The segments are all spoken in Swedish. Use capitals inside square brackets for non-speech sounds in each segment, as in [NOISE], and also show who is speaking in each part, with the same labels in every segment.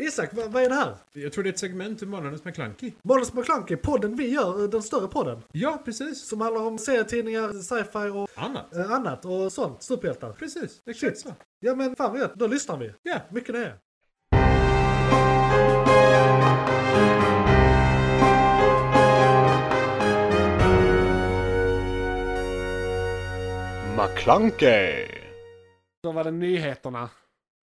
Speaker 1: Isak, vad, vad är det här?
Speaker 2: Jag tror det är ett segment ur Månadens McKlunky.
Speaker 1: Måns McClunky, podden vi gör, eh, den större podden.
Speaker 2: Ja, precis.
Speaker 1: Som handlar om serietidningar, sci-fi och
Speaker 2: Annat.
Speaker 1: eh, annat och sånt. Superhjältar.
Speaker 2: Precis, exakt så.
Speaker 1: Ja men fan vad gött, då lyssnar vi.
Speaker 2: Ja.
Speaker 1: Mycket det är.
Speaker 3: McClunkey!
Speaker 4: Då var det nyheterna.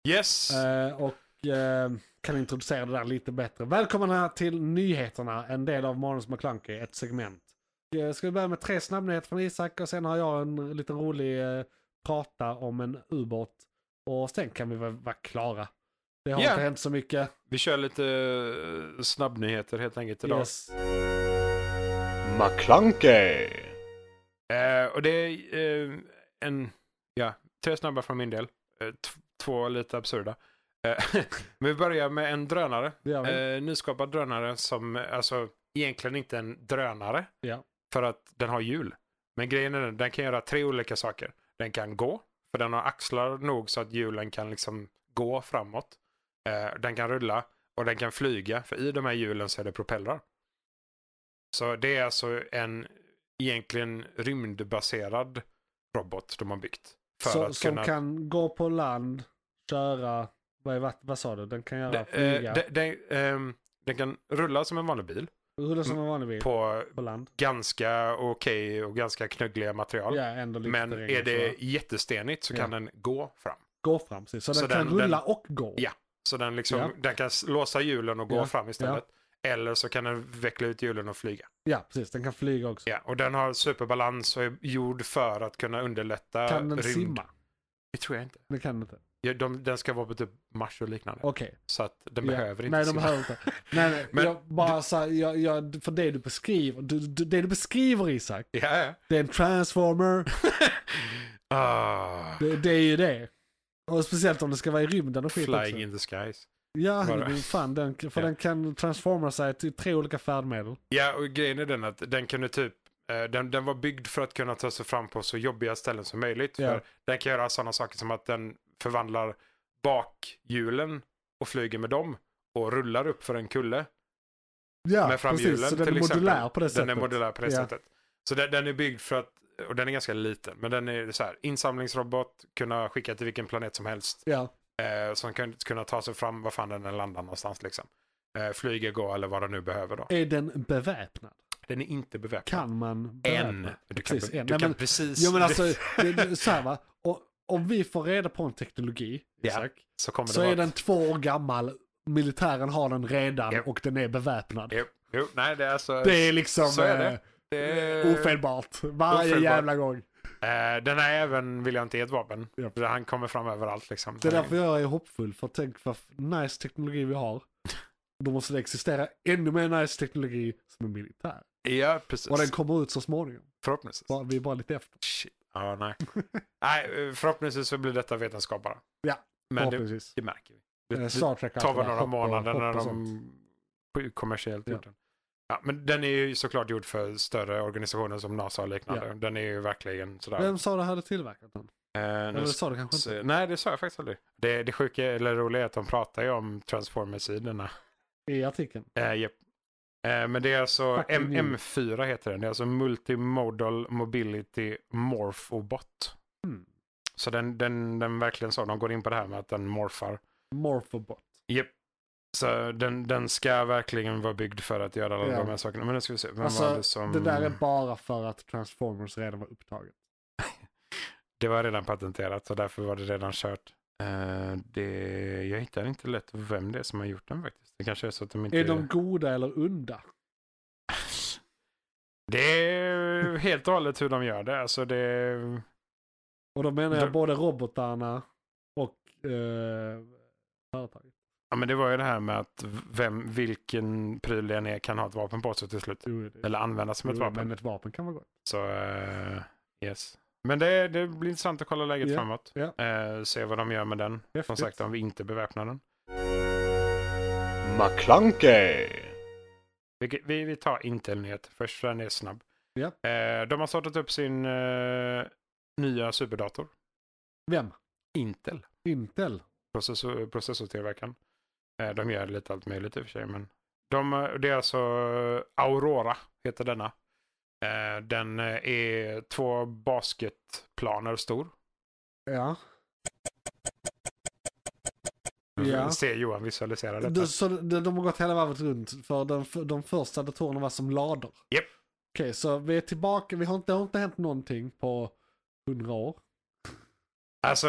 Speaker 3: Yes!
Speaker 4: Eh, och eh, kan introducera det där lite bättre. Välkomna till nyheterna, en del av Månadens McKlunky, ett segment. Jag ska vi börja med tre snabbnyheter från Isak och sen har jag en liten rolig eh, prata om en ubåt. Och sen kan vi väl vara klara. Det har
Speaker 3: Ja.
Speaker 4: inte hänt så mycket.
Speaker 3: Vi kör lite eh, snabbnyheter helt enkelt idag.
Speaker 4: Yes.
Speaker 3: McClunkey! Eh, och det är eh, en, ja, tre snabba från min del. Eh, t- två lite absurda. Eh, [LAUGHS] men vi börjar med en drönare.
Speaker 4: Det gör vi.
Speaker 3: Eh, nyskapad drönare som eh, alltså egentligen inte är en drönare.
Speaker 4: Ja.
Speaker 3: För att den har hjul. Men grejen är den, den kan göra tre olika saker. Den kan gå, för den har axlar nog så att hjulen kan liksom gå framåt. Eh, den kan rulla och den kan flyga, för i de här hjulen så är det propellrar. Så det är alltså en egentligen rymdbaserad robot de har byggt. För
Speaker 4: Så,
Speaker 3: att
Speaker 4: som
Speaker 3: kunna...
Speaker 4: kan gå på land, köra, vad, är, vad, vad sa du? Den kan göra
Speaker 3: Den, eh,
Speaker 4: flyga,
Speaker 3: den, den, ehm, den kan rulla som en vanlig bil
Speaker 4: rulla som en vanlig bil på,
Speaker 3: Mm, på
Speaker 4: land.
Speaker 3: ganska okej och ganska knuggliga material.
Speaker 4: Ja, ändå lite
Speaker 3: Men
Speaker 4: terräng
Speaker 3: är
Speaker 4: och sådär.
Speaker 3: det jättestenigt så
Speaker 4: Ja.
Speaker 3: kan den gå fram.
Speaker 4: Gå fram, precis. Så,
Speaker 3: Så
Speaker 4: den kan
Speaker 3: den-
Speaker 4: rulla och gå.
Speaker 3: Ja. Så den, liksom,
Speaker 4: Ja.
Speaker 3: den kan s- låsa hjulen och gå
Speaker 4: Ja,
Speaker 3: fram istället. Eller så kan den veckla ut hjulen och flyga.
Speaker 4: Ja, precis. Den kan flyga också.
Speaker 3: Ja, och den har superbalans och är gjord för att kunna underlätta
Speaker 4: Kan den
Speaker 3: rymd.
Speaker 4: simma?
Speaker 3: Det tror jag inte.
Speaker 4: Den kan den inte.
Speaker 3: Ja, de, den ska vara på typ Mars och liknande.
Speaker 4: Okej.
Speaker 3: Så att den
Speaker 4: Ja.
Speaker 3: behöver inte
Speaker 4: Nej, de
Speaker 3: simma.
Speaker 4: behöver inte. Nej, nej.
Speaker 3: Men
Speaker 4: jag bara så här, jag, jag, för det du beskriver, du, du, det du beskriver Isak,
Speaker 3: [LAUGHS] Ja, ja.
Speaker 4: det är en transformer,
Speaker 3: Ah,
Speaker 4: det, det är ju det. Och speciellt om det ska vara i rymden och skit också.
Speaker 3: flying in the skies.
Speaker 4: Ja,
Speaker 3: Bara.
Speaker 4: men fan, den, för
Speaker 3: Ja.
Speaker 4: den kan transforma sig till tre olika färdmedel.
Speaker 3: Ja, och grejen är den att den kunde typ eh, den, den var byggd för att kunna ta sig fram på så jobbiga ställen som möjligt.
Speaker 4: Ja.
Speaker 3: För den kan göra sådana saker som att den förvandlar bakhjulen och flyger med dem och rullar upp för en kulle
Speaker 4: Ja,
Speaker 3: med framhjulen.
Speaker 4: precis. Så den är
Speaker 3: till exempel.
Speaker 4: modulär på det sättet.
Speaker 3: Den är modulär på det
Speaker 4: Ja.
Speaker 3: sättet. Så den, den är byggd för att, och den är ganska liten, men den är så här, insamlingsrobot, kunna skicka till vilken planet som helst.
Speaker 4: Ja,
Speaker 3: Eh, som kan kunna ta sig fram var fan den än landar någonstans liksom. Eh, flyga, gå eller vad den nu behöver då.
Speaker 4: är den beväpnad?
Speaker 3: Den är inte beväpnad.
Speaker 4: Kan man beväpna?
Speaker 3: En. Du kan,
Speaker 4: Precis,
Speaker 3: du
Speaker 4: en.
Speaker 3: kan
Speaker 4: Nej, men,
Speaker 3: precis...
Speaker 4: jo men
Speaker 3: [LAUGHS]
Speaker 4: alltså, det, det, så här va. Och, om vi får reda på en teknologi,
Speaker 3: Ja,
Speaker 4: Isak,
Speaker 3: så kommer det
Speaker 4: så
Speaker 3: vara...
Speaker 4: är den två år gammal, militären har den redan
Speaker 3: Ja.
Speaker 4: och den är beväpnad.
Speaker 3: Jo, jo, nej det är alltså...
Speaker 4: Det är liksom
Speaker 3: Så är det.
Speaker 4: eh,
Speaker 3: det är-
Speaker 4: ofelbart. Varje
Speaker 3: ofelbart.
Speaker 4: jävla gång.
Speaker 3: Eh, den här även vill jag inte ge ett vapen.
Speaker 4: Ja.
Speaker 3: För Han kommer fram överallt liksom.
Speaker 4: Det är därför jag är hoppfull, för tänk vad nice teknologi vi har. Då måste det existera ännu mer nice teknologi som är militär.
Speaker 3: Ja, precis.
Speaker 4: Och den kommer ut så småningom.
Speaker 3: Förhoppningsvis.
Speaker 4: Bara- Vi är bara lite
Speaker 3: [LAUGHS]
Speaker 4: efter.
Speaker 3: Shit. Ja, nej. nej, eh, förhoppningsvis så blir detta vetenskap bara.
Speaker 4: Ja,
Speaker 3: Men det,
Speaker 4: Förhoppningsvis.
Speaker 3: det märker vi. Det,
Speaker 4: Eh,
Speaker 3: det
Speaker 4: Star Trek har
Speaker 3: tar
Speaker 4: alltid
Speaker 3: väl
Speaker 4: varit
Speaker 3: några
Speaker 4: hopp och-
Speaker 3: månader
Speaker 4: hopp
Speaker 3: när
Speaker 4: och sånt.
Speaker 3: de kommersiellt
Speaker 4: Ja.
Speaker 3: gjort den. Ja, men den är ju såklart gjord för större organisationer som NASA och liknande.
Speaker 4: Ja.
Speaker 3: Den är ju verkligen sådär.
Speaker 4: Vem sa det hade tillverkat den?
Speaker 3: Eh, nu
Speaker 4: Eller sa det kanske inte?
Speaker 3: Så, nej, det sa jag faktiskt aldrig. Det, det sjuka eller roliga är att de pratar ju om Transformers-sidorna.
Speaker 4: I artikeln.
Speaker 3: Eh, japp. eh, men det är alltså
Speaker 4: Fucking
Speaker 3: M-
Speaker 4: you.
Speaker 3: M4 heter den. Det är alltså Multimodal Mobility Morphobot.
Speaker 4: Mm.
Speaker 3: Så den, den, den verkligen så. De går in på det här med att den morfar.
Speaker 4: Morphobot.
Speaker 3: Japp. Så den, den ska verkligen vara byggd för att göra alla
Speaker 4: Ja.
Speaker 3: de här sakerna. Men nu ska vi se. Vem var
Speaker 4: alltså,
Speaker 3: det som...
Speaker 4: det där är bara för att Transformers redan var upptaget.
Speaker 3: Det var redan patenterat så därför var det redan kört. Eh, det, jag hittar inte lätt vem det är som har gjort den faktiskt. Det kanske är så att de inte...
Speaker 4: Är de goda eller onda?
Speaker 3: Det är helt och hållet hur de gör det. Alltså det...
Speaker 4: Och då menar jag
Speaker 3: De-
Speaker 4: både robotarna och eh, företaget.
Speaker 3: Ja, men det var ju det här med att vem, vilken pryl den är kan ha ett vapen på sig till slut.
Speaker 4: Jo, det-
Speaker 3: Eller användas som ett
Speaker 4: jo,
Speaker 3: vapen.
Speaker 4: Mm, Men ett vapen kan vara gott.
Speaker 3: Så eh, yes. Men det, det blir intressant att kolla läget
Speaker 4: Ja,
Speaker 3: framåt.
Speaker 4: ja.
Speaker 3: Eh, se vad de gör med den. Som
Speaker 4: Häftigt.
Speaker 3: sagt om vi inte beväpnar den.
Speaker 5: McClunkey!
Speaker 3: Vi, vi, vi tar Intel-nyheter först för den är snabb.
Speaker 4: Ja.
Speaker 3: Eh, de har startat upp sin eh, nya superdator.
Speaker 4: Vem?
Speaker 3: Intel.
Speaker 4: Intel?
Speaker 3: Processor, processortillverkaren. Eh, De gör lite allt möjligt i och för sig. Men de, eh, det är alltså Aurora heter denna. Eh, Den eh, är två basketplaner stor.
Speaker 4: Ja.
Speaker 3: Ja.
Speaker 4: Ja.
Speaker 3: Ser Johan visualisera detta.
Speaker 4: Du, så de, de har gått hela varvet runt för de, f- de första datorerna var som lador.
Speaker 3: Japp.
Speaker 4: Okej, så vi är tillbaka. Vi har inte, det har inte hänt någonting på hundra år. [LAUGHS]
Speaker 3: Alltså,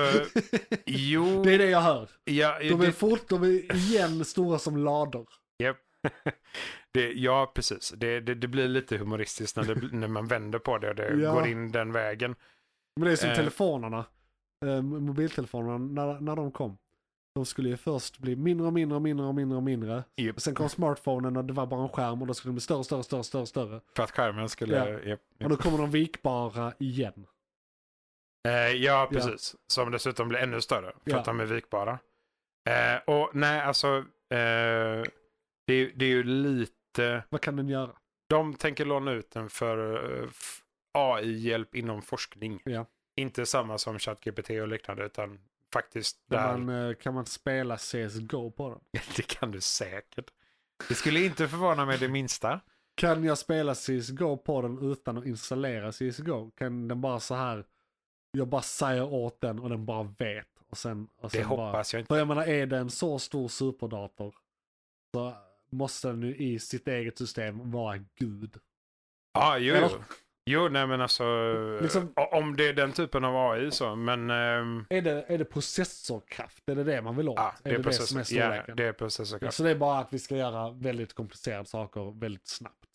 Speaker 3: jo.
Speaker 4: det är det jag hör.
Speaker 3: ja,
Speaker 4: De är
Speaker 3: det-
Speaker 4: fort, de är igen stora som lador.
Speaker 3: Japp. Det, ja, precis. Det, det, det blir lite humoristiskt när, det, bl- när man vänder på det och det
Speaker 4: Ja.
Speaker 3: går in den vägen.
Speaker 4: Men det är som
Speaker 3: Eh.
Speaker 4: telefonerna. Eh, mobiltelefonerna, när, när de kom. De skulle ju först bli mindre och mindre och mindre och mindre och mindre.
Speaker 3: Japp.
Speaker 4: Och sen kom smartphonen och det var bara en skärm och då skulle de bli större, större, större, större, större.
Speaker 3: För att skärmen skulle...
Speaker 4: Ja.
Speaker 3: japp, japp.
Speaker 4: Och då kommer de vikbara igen.
Speaker 3: Eh, ja, precis. Som dessutom blir ännu större för
Speaker 4: Ja.
Speaker 3: att de är vikbara. Eh, och nej, alltså... Eh, det, är- det är ju lite...
Speaker 4: Vad kan den göra?
Speaker 3: De tänker låna ut den för eh, f- AI-hjälp inom forskning.
Speaker 4: Ja.
Speaker 3: Inte samma som ChatGPT och liknande, utan faktiskt där...
Speaker 4: Kan man, eh, kan man spela CSGO på den?
Speaker 3: [LAUGHS] Det kan du säkert. Det skulle inte förvåna mig
Speaker 4: [LAUGHS]
Speaker 3: det minsta.
Speaker 4: Kan jag spela CSGO på den utan att installera CSGO? Kan den bara så här, jag bara säger åt den och den bara vet. Och sen, och sen
Speaker 3: Det
Speaker 4: bara,
Speaker 3: hoppas jag inte.
Speaker 4: För jag menar, är det en så stor superdator så måste den ju i sitt eget system vara gud.
Speaker 3: Ja, jo,
Speaker 4: Eller?
Speaker 3: jo. Jo, nej men alltså.
Speaker 4: Liksom-
Speaker 3: o- Om det är den typen av AI så. Men ehm,
Speaker 4: Är det, är det processorkraft? Är det det man vill åt?
Speaker 3: ja, det, är
Speaker 4: det
Speaker 3: process-
Speaker 4: som är
Speaker 3: ja,
Speaker 4: storleken?
Speaker 3: det är processorkraft.
Speaker 4: Så det är bara att vi ska göra väldigt komplicerade saker väldigt snabbt.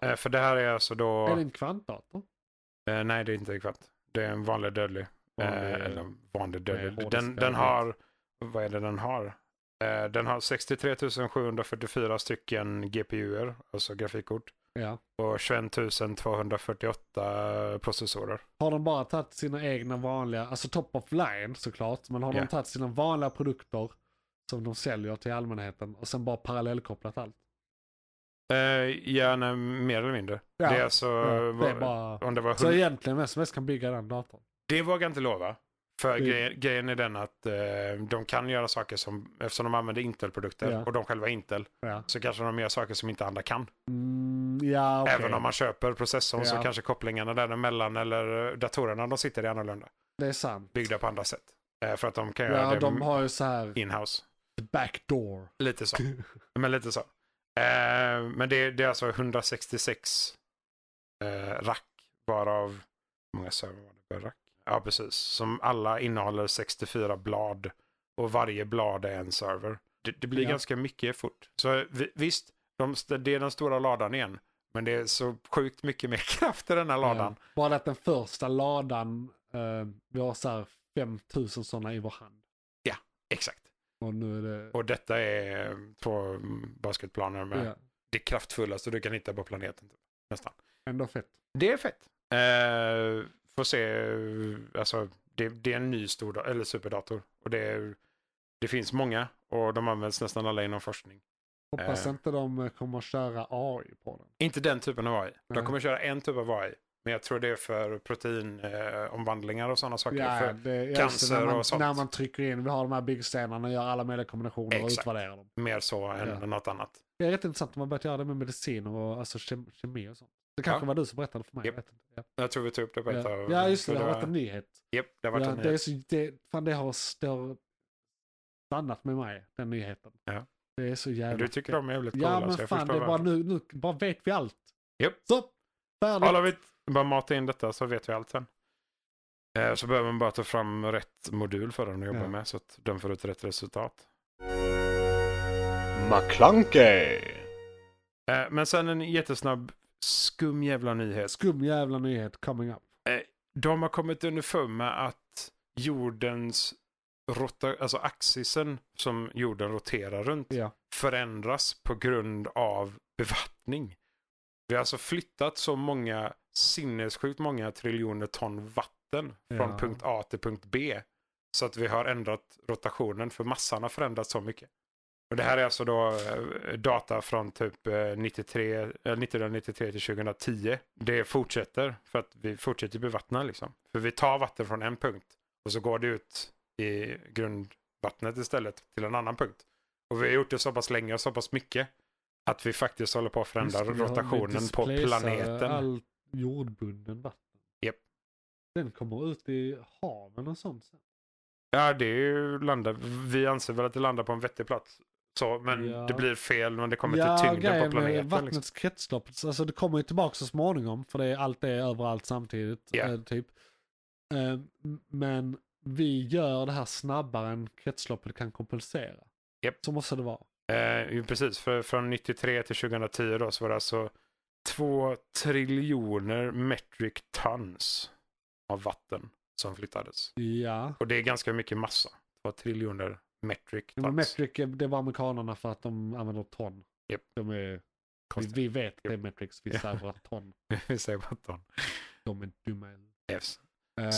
Speaker 3: Eh, För det här är alltså då.
Speaker 4: Är det en kvantdator?
Speaker 3: eh, Nej, det är inte kvant. Det är en vanlig dödlig.
Speaker 4: Vanlig-
Speaker 3: eh, eller
Speaker 4: Nej,
Speaker 3: vanlig dödlig.
Speaker 4: hårdisk
Speaker 3: Den, den
Speaker 4: dödlig.
Speaker 3: har. Vad är det den har? Eh, Den har 63 744 stycken GPUer, alltså grafikkort.
Speaker 4: Ja.
Speaker 3: Och 21 248 processorer.
Speaker 4: Har de bara tagit sina egna vanliga, alltså top of line såklart, men har
Speaker 3: Ja.
Speaker 4: de tagit sina vanliga produkter som de säljer till allmänheten och sen bara parallellkopplat allt?
Speaker 3: Eh, ja, nej, mer eller mindre.
Speaker 4: Ja,
Speaker 3: Det är alltså...
Speaker 4: Ja, det är
Speaker 3: vad-
Speaker 4: bara...
Speaker 3: Om det var
Speaker 4: Så
Speaker 3: hund...
Speaker 4: egentligen vem som helst kan bygga den datorn.
Speaker 3: Det vågar jag inte lova. För
Speaker 4: Det-
Speaker 3: grejen, grejen är den att eh, de kan göra saker som, eftersom de använder Intel-produkter
Speaker 4: Ja.
Speaker 3: och de själva är Intel,
Speaker 4: Ja,
Speaker 3: så kanske de gör saker som inte andra kan.
Speaker 4: mm, ja okej.
Speaker 3: Även om man köper processorn så
Speaker 4: Ja.
Speaker 3: kanske kopplingarna däremellan eller eh, datorerna de sitter i är annorlunda.
Speaker 4: Det är sant.
Speaker 3: Byggda på andra sätt. Eh, för att de kan göra
Speaker 4: Ja,
Speaker 3: det
Speaker 4: de har ju så här
Speaker 3: in-house.
Speaker 4: backdoor.
Speaker 3: Lite så. men lite så. Eh, men det, det är alltså 166 eh, rack, varav hur många server var det per rack? Ja, precis. Som alla innehåller 64 blad och varje blad är en server. Det, det blir
Speaker 4: Ja.
Speaker 3: ganska mycket fort. Så vi, visst, de, st- det är den stora ladan igen. Men det är så sjukt mycket mer [LAUGHS] kraft i den här ladan.
Speaker 4: [LAUGHS] Ja. Bara att den första ladan, eh, vi har så här 5000 sådana i vår hand.
Speaker 3: Exakt.
Speaker 4: Och nu är det...
Speaker 3: Och detta är två mm, basketplaner med
Speaker 4: Ja,
Speaker 3: det kraftfullaste du kan hitta på planeten. Typ. Nästan.
Speaker 4: ändå fett.
Speaker 3: Det är fett. Eh, får se, eh, alltså det, det är en ny stor da- eller superdator. Och det, är, det finns många och de används nästan alla inom forskning.
Speaker 4: Hoppas
Speaker 3: Eh.
Speaker 4: inte de eh, kommer att köra AI på den.
Speaker 3: Inte den typen av AI. De
Speaker 4: Nej.
Speaker 3: kommer köra en typ av AI. Men jag tror det är för proteinomvandlingar eh, omvandlingar och sådana saker.
Speaker 4: Ja,
Speaker 3: För
Speaker 4: det, ja,
Speaker 3: cancer
Speaker 4: just det, när man,
Speaker 3: och sånt.
Speaker 4: När man trycker in, vi har de här byggstenarna, gör alla möjliga kombinationer
Speaker 3: Exakt.
Speaker 4: och utvärderar dem.
Speaker 3: mer så än
Speaker 4: Ja.
Speaker 3: något annat.
Speaker 4: Det är rätt intressant att man börjat göra det med mediciner och alltså, kem- kemi och sånt. Det kanske
Speaker 3: Ja.
Speaker 4: var du som berättade för mig.
Speaker 3: Japp.
Speaker 4: jag vet inte. Ja.
Speaker 3: Jag tror vi tog upp det på ett
Speaker 4: Ja.
Speaker 3: av...
Speaker 4: ja, just det. Det har
Speaker 3: var-
Speaker 4: varit en nyhet.
Speaker 3: Japp, det har varit
Speaker 4: Ja,
Speaker 3: en
Speaker 4: det, är
Speaker 3: nyhet.
Speaker 4: så, det, fan, det, har, det har stannat med mig, den nyheten.
Speaker 3: Ja.
Speaker 4: Det är så jävla...
Speaker 3: Du tycker de är jävligt coola.
Speaker 4: Ja,
Speaker 3: så
Speaker 4: men
Speaker 3: jag
Speaker 4: fan, det
Speaker 3: förstår
Speaker 4: är bara
Speaker 3: varför.
Speaker 4: nu, nu bara vet vi allt.
Speaker 3: Japp.
Speaker 4: Så, färdigt.
Speaker 3: Alla vet, bara mata in detta så vet vi allt sen. Eh, Så behöver man bara ta fram rätt modul för den att jobba
Speaker 4: Ja.
Speaker 3: med så att den får ut rätt resultat.
Speaker 5: McClunkey!
Speaker 3: Eh, Men sen en jättesnabb skum jävla nyhet.
Speaker 4: Skum jävla nyhet coming up.
Speaker 3: De har kommit underfund med att jordens rota, alltså axisen som jorden roterar runt
Speaker 4: Ja.
Speaker 3: förändras på grund av bevattning. Vi har alltså flyttat så många, sinnessjukt många triljoner ton vatten från
Speaker 4: Ja.
Speaker 3: punkt A till punkt B. Så att vi har ändrat rotationen för massan har förändrats så mycket. Och det här är alltså då eh, data från typ eh, 93, eh, 1993 till 2010. Det fortsätter för att vi fortsätter bevattna liksom. För vi tar vatten från en punkt och så går det ut i grundvattnet istället till en annan punkt. Och vi har gjort det så pass länge och så pass mycket att vi faktiskt håller på att förändra
Speaker 4: Just det, vi har- vi
Speaker 3: rotationen på
Speaker 4: displacerar
Speaker 3: planeten.
Speaker 4: All jordbunden vatten.
Speaker 3: Japp.
Speaker 4: Den kommer ut i haven och sånt sen.
Speaker 3: Ja, det är ju landar, vi anser väl att det landar på en vettig plats. Så, men
Speaker 4: Ja.
Speaker 3: det blir fel när det kommer
Speaker 4: ja,
Speaker 3: till tyngden
Speaker 4: grejen
Speaker 3: på
Speaker 4: med
Speaker 3: planeten.
Speaker 4: Vattnets
Speaker 3: Liksom.
Speaker 4: kretslopp, alltså det kommer ju tillbaka så småningom för det är allt det är överallt samtidigt.
Speaker 3: Ja.
Speaker 4: eh, typ. Eh, m- men vi gör det här snabbare än kretsloppet kan kompensera.
Speaker 3: Japp.
Speaker 4: Så måste det vara.
Speaker 3: Eh, ju precis, för från 93 till 2010 då så var det alltså 2 triljoner metric tons av vatten som flyttades.
Speaker 4: Ja.
Speaker 3: Och det är ganska mycket massa. 2 triljoner metric
Speaker 4: Ja, Men
Speaker 3: tons.
Speaker 4: metric, är- det var amerikanerna för att de använder ton.
Speaker 3: Japp.
Speaker 4: De är, vi,
Speaker 3: Konstigt.
Speaker 4: vi vet att det är metrics, vi
Speaker 3: Ja.
Speaker 4: säger bara ton.
Speaker 3: [LAUGHS] Vi säger bara ton.
Speaker 4: De är dumma.
Speaker 3: Yes.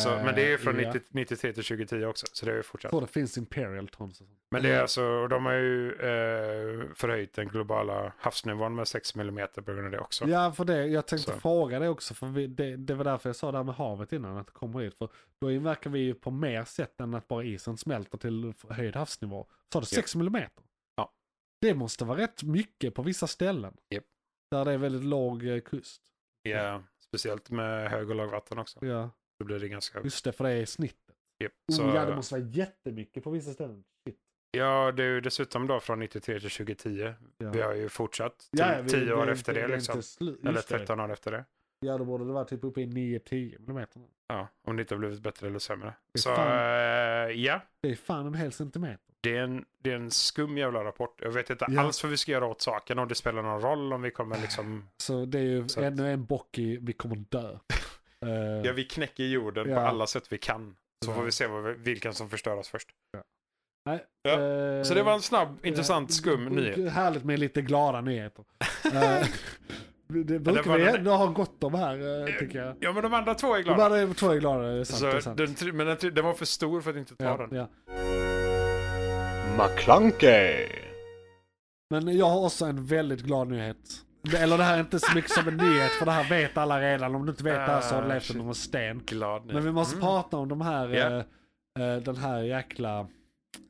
Speaker 3: Så,
Speaker 4: Eh,
Speaker 3: men det är ju från 90, 93 till 2010 också, så det har ju
Speaker 4: Jag
Speaker 3: fortsatt.
Speaker 4: tror det finns imperial tons och sånt.
Speaker 3: Men det är alltså, och de har ju eh, förhöjt den globala havsnivån med 6 millimeter på grund av det också.
Speaker 4: Ja, för det, jag tänkte
Speaker 3: Så.
Speaker 4: fråga det också. För vi, det, det var därför jag sa det här med havet innan, att det kommer dit. För då inverkar vi ju på mer sätt än att bara isen smälter till höjd havsnivå. Sa du 6 millimeter?
Speaker 3: Ja.
Speaker 4: Det måste vara rätt mycket på vissa ställen.
Speaker 3: Japp.
Speaker 4: Där det är väldigt låg eh, kust.
Speaker 3: Ja, speciellt med hög och lågvatten också.
Speaker 4: Ja,
Speaker 3: Då blir det ganska...
Speaker 4: just det, för det är snittet.
Speaker 3: Yep.
Speaker 4: Så...
Speaker 3: Så, eh,
Speaker 4: Oh, ja, det måste vara jättemycket på vissa ställen. Shit.
Speaker 3: ja, det är ju dessutom då från 93 till 2010.
Speaker 4: Ja.
Speaker 3: Vi har ju fortsatt till
Speaker 4: Ja, ja, vi-
Speaker 3: 10
Speaker 4: det är
Speaker 3: år
Speaker 4: inte-
Speaker 3: efter det,
Speaker 4: är
Speaker 3: liksom.
Speaker 4: inte slut-
Speaker 3: Eller
Speaker 4: just det.
Speaker 3: 13 år efter det.
Speaker 4: Ja, då borde det vara typ uppe i 9-10 millimeter.
Speaker 3: Ja, om det inte har blivit bättre eller sämre.
Speaker 4: Det är
Speaker 3: Så
Speaker 4: fan-
Speaker 3: eh, ja,
Speaker 4: Det är fan en hel centimeter.
Speaker 3: det är, en, det är en skum jävla rapport. Jag vet inte
Speaker 4: Ja.
Speaker 3: alls vad vi ska göra åt saken, om det spelar någon roll, om vi kommer liksom...
Speaker 4: Så det är ju
Speaker 3: Så att-
Speaker 4: ännu en bock i vi kommer dö. Eh,
Speaker 3: [LAUGHS] Ja, vi knäcker jorden
Speaker 4: Ja.
Speaker 3: på alla sätt vi kan. Så
Speaker 4: Ja.
Speaker 3: får vi se vad vi, vilken som förstöras först.
Speaker 4: nej,
Speaker 3: Ja,
Speaker 4: eh,
Speaker 3: Så det var en snabb,
Speaker 4: eh,
Speaker 3: intressant, skum
Speaker 4: eh,
Speaker 3: nyhet.
Speaker 4: Härligt med lite glada
Speaker 3: [LAUGHS]
Speaker 4: nyheter. Eh, det
Speaker 3: det
Speaker 4: brukar
Speaker 3: var
Speaker 4: vi
Speaker 3: den-
Speaker 4: ändå ha gott om här, eh, tycker jag.
Speaker 3: Ja, men de andra två är
Speaker 4: Det
Speaker 3: glada.
Speaker 4: var det två är glada, det är sant. det är
Speaker 3: Så
Speaker 4: sant.
Speaker 3: den, tri- men den, tri- den var för stor för att inte ta
Speaker 4: ja,
Speaker 3: den.
Speaker 4: ja.
Speaker 5: McClunkey,
Speaker 4: Men jag har också en väldigt glad nyhet. Det- Eller det här är inte så mycket som en nyhet, för det här vet alla redan. Om du inte vet det här så har du
Speaker 3: Ah,
Speaker 4: levt
Speaker 3: shit.
Speaker 4: under en sten.
Speaker 3: Glad nu.
Speaker 4: Men vi måste
Speaker 3: Mm.
Speaker 4: prata om de här,
Speaker 3: Ja.
Speaker 4: eh, eh, den här jäkla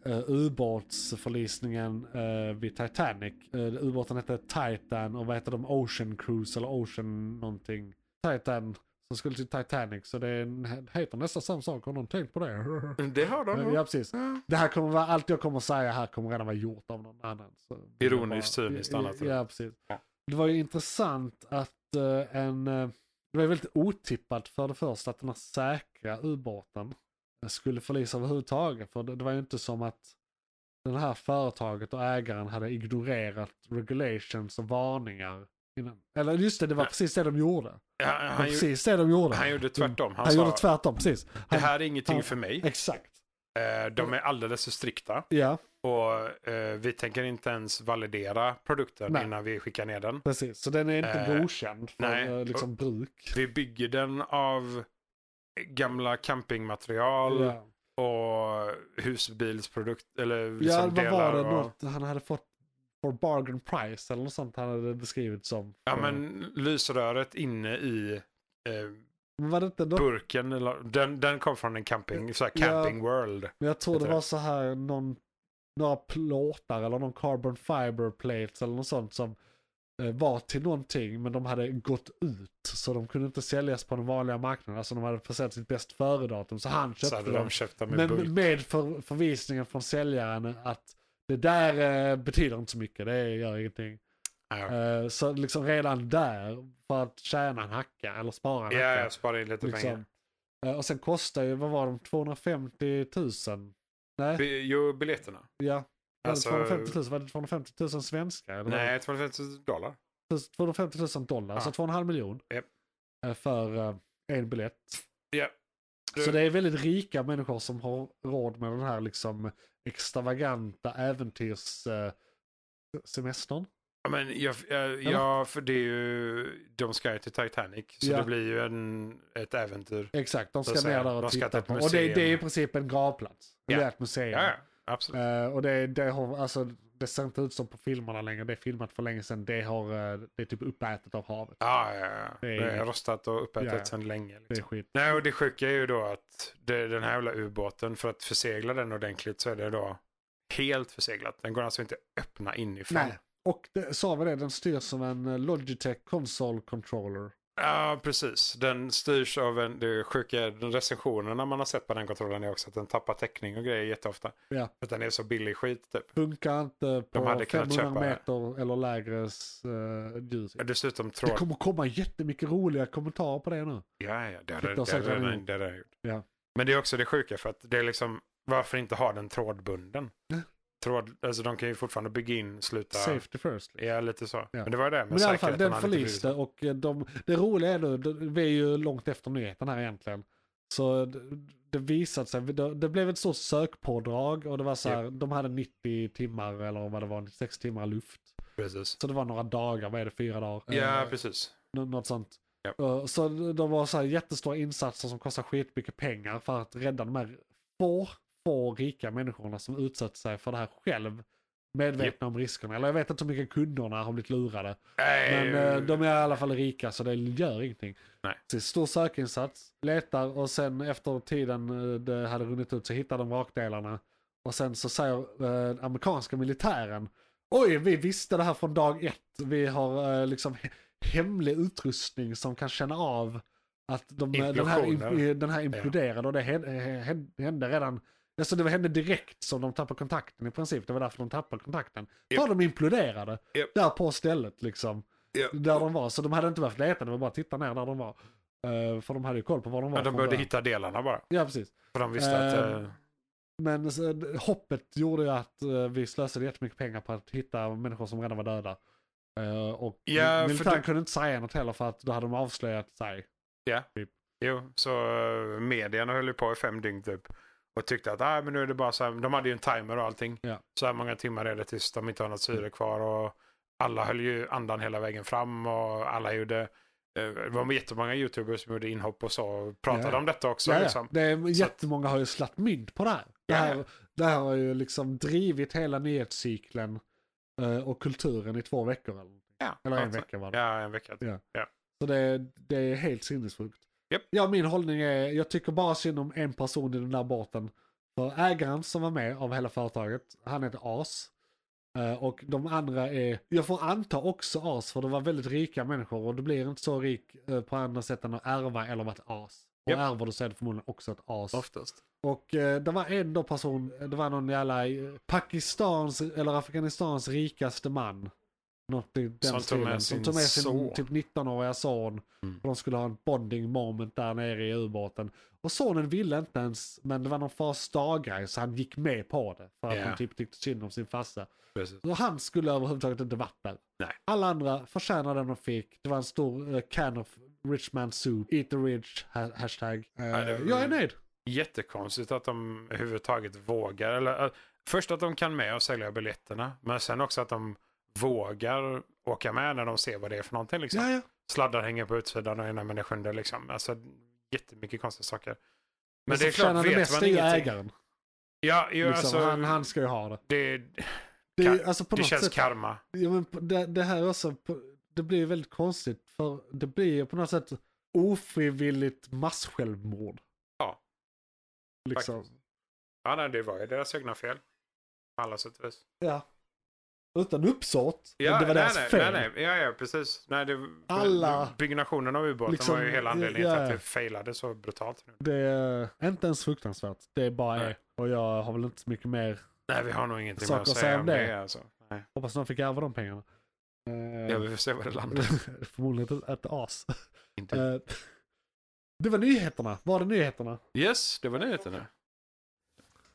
Speaker 4: eh, ubåtsförlisningen eh, vid Titanic. Eh, ubåten hette Titan och vad heter de? Ocean Cruise eller Ocean någonting. Titan som skulle till Titanic. Så det är en, heter nästan samma sak. Har någon tänkt på det? [LAUGHS]
Speaker 3: Mm, Det har de.
Speaker 4: Eh,
Speaker 3: nog.
Speaker 4: ja, precis. Det här kommer vara, allt jag kommer säga här kommer redan vara gjort av någon annan. Så
Speaker 3: Ironiskt,
Speaker 4: Jag
Speaker 3: cyniskt,
Speaker 4: ja,
Speaker 3: annat.
Speaker 4: Ja, precis.
Speaker 3: Ja.
Speaker 4: Det var ju intressant att eh, en, eh, det var ju väldigt otippat för det första att den här säkra ubåten skulle förlisa överhuvudtaget. För det, det var ju inte som att det här företaget och ägaren hade ignorerat regulations och varningar. Innan. Eller just det, det var
Speaker 3: Ja.
Speaker 4: precis det de gjorde. Det
Speaker 3: Ja,
Speaker 4: var
Speaker 3: han, gjorde,
Speaker 4: precis det de gjorde.
Speaker 3: han gjorde tvärtom. Han,
Speaker 4: Han
Speaker 3: sa,
Speaker 4: gjorde tvärtom, precis.
Speaker 3: det
Speaker 4: Han-
Speaker 3: här är ingenting
Speaker 4: han-
Speaker 3: för mig.
Speaker 4: Exakt.
Speaker 3: Eh, De är alldeles för strikta.
Speaker 4: Ja,
Speaker 3: Och eh, vi tänker inte ens validera produkten
Speaker 4: Nej.
Speaker 3: innan vi skickar ner den.
Speaker 4: precis. Så den är inte
Speaker 3: Eh,
Speaker 4: godkänd för
Speaker 3: nej.
Speaker 4: eh, liksom, bruk.
Speaker 3: Vi bygger den av gamla campingmaterial
Speaker 4: Ja.
Speaker 3: och husbilsprodukt. Eller
Speaker 4: Ja,
Speaker 3: liksom
Speaker 4: vad var
Speaker 3: delar.
Speaker 4: det?
Speaker 3: och,
Speaker 4: Något han hade fått for bargain price eller något sånt han hade beskrivit som. Eh,
Speaker 3: ja, men lysröret inne i eh,
Speaker 4: Men var det inte något?
Speaker 3: burken. eller- Den, den kom från en camping, så här
Speaker 4: Ja.
Speaker 3: camping world.
Speaker 4: Men jag tror det
Speaker 3: heter det.
Speaker 4: var så här någon, några plåtar eller någon carbon fiber plates eller något sånt som eh, var till någonting men de hade gått ut så de kunde inte säljas på den vanliga marknaden. Alltså de hade passerat sitt bäst före-datum så han
Speaker 3: Så
Speaker 4: köpte
Speaker 3: hade
Speaker 4: dem.
Speaker 3: de köpt dem i bulk.
Speaker 4: Men med för, förvisningen från säljaren att det där eh, betyder inte så mycket, det gör ingenting.
Speaker 3: Ja.
Speaker 4: Eh, Så liksom redan där, för att tjäna en hacka eller spara en
Speaker 3: Ja,
Speaker 4: hacka.
Speaker 3: jag sparar in lite pengar.
Speaker 4: liksom. Eh, Och sen kostar ju, vad var de, 250 000? Nej,
Speaker 3: Bi- Jo, biljetterna.
Speaker 4: ja. Var det
Speaker 3: alltså-
Speaker 4: 250 000? Var det 250 000 svenska? Eller var det
Speaker 3: Nej, 250 dollar.
Speaker 4: 250 000 dollar, Alltså
Speaker 3: Ja.
Speaker 4: så 2,5 miljon.
Speaker 3: Japp.
Speaker 4: eh, För eh, en biljett.
Speaker 3: Ja. Du-
Speaker 4: Så det är väldigt rika människor som har råd med den här liksom extravaganta äventyrs eh, semestern.
Speaker 3: Ja, Men jag, jag, ja, för det är ju, de ska ju till Titanic. Så
Speaker 4: Ja.
Speaker 3: det blir ju en, ett äventyr.
Speaker 4: Exakt, de
Speaker 3: Så
Speaker 4: ska
Speaker 3: säger
Speaker 4: ner
Speaker 3: de.
Speaker 4: där och
Speaker 3: De ska till
Speaker 4: titta
Speaker 3: ett
Speaker 4: på. Och det, det är i
Speaker 3: museum.
Speaker 4: princip en gravplats.
Speaker 3: Ja.
Speaker 4: Det är ett museum.
Speaker 3: Ja, ja absolut.
Speaker 4: Eh, och det, det, har, alltså, det ser inte ut som på filmerna längre. Det är filmat för länge sedan. Det, har, eh, det är typ uppätet av havet.
Speaker 3: Ja, ja, ja.
Speaker 4: Det
Speaker 3: Det
Speaker 4: är-
Speaker 3: är rostat och uppätet
Speaker 4: Ja, ja.
Speaker 3: sedan länge.
Speaker 4: Det är
Speaker 3: Liksom.
Speaker 4: skit.
Speaker 3: Nej, och det sjuka är ju då att det, den här jävla ubåten, för att försegla den ordentligt så är det då helt förseglat. Den går alltså inte att öppna inifrån.
Speaker 4: Nej. Och det, sa vi det, den styrs som en eh, Logitech Console Controller.
Speaker 3: Ja, precis. Den styrs av en, det är sjuka de recensionerna man har sett på den kontrollen är också att den tappar täckning och grejer jätteofta.
Speaker 4: Ja.
Speaker 3: För att den är så billig skit typ.
Speaker 4: Funkar inte på
Speaker 3: hade kunnat
Speaker 4: 500
Speaker 3: köpa-
Speaker 4: meter eller lägre uh, ljus.
Speaker 3: Dessutom tror
Speaker 4: Det kommer komma jättemycket roliga kommentarer på det nu.
Speaker 3: Ja, ja, det hade
Speaker 4: Hittar
Speaker 3: det hade
Speaker 4: säkert
Speaker 3: redan-
Speaker 4: en-
Speaker 3: det hade jag gjort.
Speaker 4: Ja.
Speaker 3: Men det är också det sjuka för att det är liksom, varför inte ha den trådbunden?
Speaker 4: Ja.
Speaker 3: Tråd, alltså de kan ju fortfarande bygga in, sluta,
Speaker 4: Safety first.
Speaker 3: ja lite så.
Speaker 4: Ja.
Speaker 3: Men det var ju det med
Speaker 4: Men i alla fall,
Speaker 3: säkerheten
Speaker 4: den
Speaker 3: hade inte blivit
Speaker 4: förliste och eh, de, det roliga är nu, det- vi är ju långt efter nyheten här egentligen. Så det, det visade sig, det, det blev ett stort sökpådrag och det var så här, de hade 90 timmar eller vad det var, 96 timmar luft.
Speaker 3: Precis.
Speaker 4: Så det var några dagar, vad är det, fyra dagar?
Speaker 3: Ja,
Speaker 4: Eh,
Speaker 3: precis.
Speaker 4: Nå- Något sånt.
Speaker 3: Ja.
Speaker 4: Eh, Så de var så här jättestora insatser som kostar skitmycket pengar för att rädda de här få, få rika människorna som utsatt sig för det här själv. Medvetna om riskerna. Eller jag vet inte hur mycket kunderna har blivit lurade.
Speaker 3: Nej,
Speaker 4: Men eh, de är i alla fall rika så det gör ingenting.
Speaker 3: Nej.
Speaker 4: Så det är stor sökinsats, letar och sen efter tiden eh, det hade runnit ut så hittar de vrakdelarna. Och sen så säger eh, amerikanska militären Oj, vi visste det här från dag ett. Vi har eh, liksom he- hemlig utrustning som kan känna av att de, den, här,
Speaker 3: Implosioner.
Speaker 4: im- den här imploderade. Och det hände, hände- hände redan, alltså det hände direkt som de tappade kontakten i princip. Det var därför de tappade kontakten.
Speaker 3: Japp.
Speaker 4: För de imploderade
Speaker 3: Japp.
Speaker 4: där på stället liksom.
Speaker 3: Ja.
Speaker 4: Där de var. Så de hade inte behövt leta, det var bara att titta ner där de var. Eh, för de hade ju koll på var de var.
Speaker 3: Ja, de
Speaker 4: från
Speaker 3: behövde
Speaker 4: början.
Speaker 3: hitta delarna bara.
Speaker 4: Ja, precis.
Speaker 3: För de visste att...
Speaker 4: Eh,
Speaker 3: eh,
Speaker 4: Men så, d- hoppet gjorde ju att eh, vi slösade jättemycket pengar på att hitta människor som redan var döda. Eh, och
Speaker 3: Ja, för
Speaker 4: militären
Speaker 3: du-
Speaker 4: kunde inte säga något heller för att då hade de avslöjat sig.
Speaker 3: Jo, så eh, medierna höll ju på i fem dygn typ. Och tyckte att ah, men nu är det bara så här, de hade ju en timer och allting.
Speaker 4: Ja. Mm.
Speaker 3: Så här många timmar är det tills de inte har något syre kvar. Och alla höll ju andan hela vägen fram och alla gjorde, eh, det var jättemånga youtubers som gjorde inhopp och så. Och pratade
Speaker 4: Ja, ja.
Speaker 3: om detta också.
Speaker 4: Ja, ja.
Speaker 3: liksom.
Speaker 4: det är, jättemånga har ju slatt mynt på det här. Det
Speaker 3: Ja,
Speaker 4: här,
Speaker 3: ja.
Speaker 4: det här har ju liksom drivit hela nyhetscykeln eh, och kulturen i två veckor. Eller,
Speaker 3: ja,
Speaker 4: eller en
Speaker 3: alltså.
Speaker 4: vecka var det.
Speaker 3: Ja, en vecka.
Speaker 4: Ja. Så det, det är helt sinnessjukt.
Speaker 3: Japp.
Speaker 4: Ja, min hållning är, jag tycker bara synd om en person i den där båten. För ägaren som var med av hela företaget, han är ett as. Eh, Och de andra är, jag får anta också as, för det var väldigt rika människor och du blir inte så rik eh, på andra sätt än att ärva eller vara ett as. Och
Speaker 3: Japp.
Speaker 4: ärver du så är det förmodligen också ett as.
Speaker 3: Oftast.
Speaker 4: Och eh, det var en då person, det var någon jävla eh, Pakistans eller Afghanistans rikaste man. Något i den
Speaker 3: Som tog
Speaker 4: stilen.
Speaker 3: med
Speaker 4: Som
Speaker 3: sin
Speaker 4: tog med sin
Speaker 3: son.
Speaker 4: typ 19-åriga son.
Speaker 3: Mm.
Speaker 4: För de skulle ha en bonding moment där nere i ubåten. Och sonen ville inte ens, men det var någon fars dag-grej så han gick med på det. För att
Speaker 3: Ja.
Speaker 4: han typ tyckte synd om sin farsa.
Speaker 3: Precis.
Speaker 4: Så han skulle överhuvudtaget inte varit där.
Speaker 3: Nej.
Speaker 4: Alla andra förtjänade den de fick. Det var en stor eh, can of rich man soup. Eat the rich, ha- hashtag. Eh,
Speaker 3: det var-
Speaker 4: jag är nöjd.
Speaker 3: Jättekonstigt att de överhuvudtaget vågar. Eller, eh, först att de kan med och sälja biljetterna. Men sen också att de vågar åka med när de ser vad det är för någonting. Liksom.
Speaker 4: Ja, ja.
Speaker 3: sladdar hänger på utsidan och ena men det sjunde liksom. Alltså jättemycket konstiga saker. Men
Speaker 4: som
Speaker 3: det är
Speaker 4: förtjänar
Speaker 3: klart, vet
Speaker 4: mesta
Speaker 3: man
Speaker 4: är ju
Speaker 3: ingenting.
Speaker 4: ägaren.
Speaker 3: Ja, ju,
Speaker 4: Liksom,
Speaker 3: alltså,
Speaker 4: han, han ska ju ha det.
Speaker 3: det,
Speaker 4: Det, är ju-
Speaker 3: Ka-
Speaker 4: alltså på
Speaker 3: det
Speaker 4: något
Speaker 3: känns
Speaker 4: sätt,
Speaker 3: karma.
Speaker 4: ja, men på- det, det här också, på- det blir ju väldigt konstigt för det blir ju på något sätt ofrivilligt massjälvmord.
Speaker 3: Ja.
Speaker 4: Liksom.
Speaker 3: Faktiskt. Ja, nej, det var ju deras egna fel. På alla sätt och vis.
Speaker 4: Ja. Utan uppsåt,
Speaker 3: Ja,
Speaker 4: men det var
Speaker 3: nej,
Speaker 4: deras
Speaker 3: nej,
Speaker 4: fel.
Speaker 3: Nej, nej, ja, ja, precis. Nej, det,
Speaker 4: Alla-
Speaker 3: Byggnationen av ubåten
Speaker 4: liksom,
Speaker 3: var ju hela anledningen till
Speaker 4: ja.
Speaker 3: att det failade så brutalt. Nu.
Speaker 4: Det är inte ens fruktansvärt, det är bara
Speaker 3: Nej.
Speaker 4: Och jag har väl inte så mycket mer,
Speaker 3: Nej, vi har nog ingenting
Speaker 4: Saker
Speaker 3: mer att säga om det. alltså. nej.
Speaker 4: hoppas någon fick ärva de pengarna. Eh,
Speaker 3: Ja, vi får se var det landar.
Speaker 4: [LAUGHS] Förmodligen ett, ett as.
Speaker 3: Inte.
Speaker 4: [LAUGHS] Eh, det var nyheterna, var det nyheterna?
Speaker 3: Yes, det var nyheterna.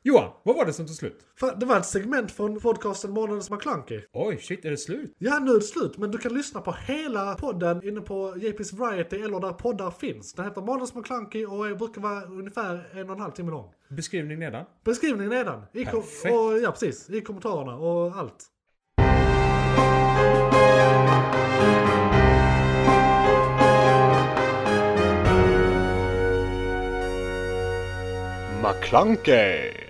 Speaker 2: Johan, vad var det som tog slut?
Speaker 1: Fan, det var ett segment från podcasten Månadens McKlunky.
Speaker 2: Oj, shit, är det slut?
Speaker 1: Ja, nu är det slut, men du kan lyssna på hela podden inne på JP's Variety eller där poddar finns. Den heter Månadens McKlunky och jag brukar vara ungefär en och en halv timme lång.
Speaker 2: Beskrivning nedan.
Speaker 1: Beskrivningen nedan. I kom-
Speaker 2: Perfekt.
Speaker 1: och, ja, precis. I kommentarerna och allt.
Speaker 5: McClunkey.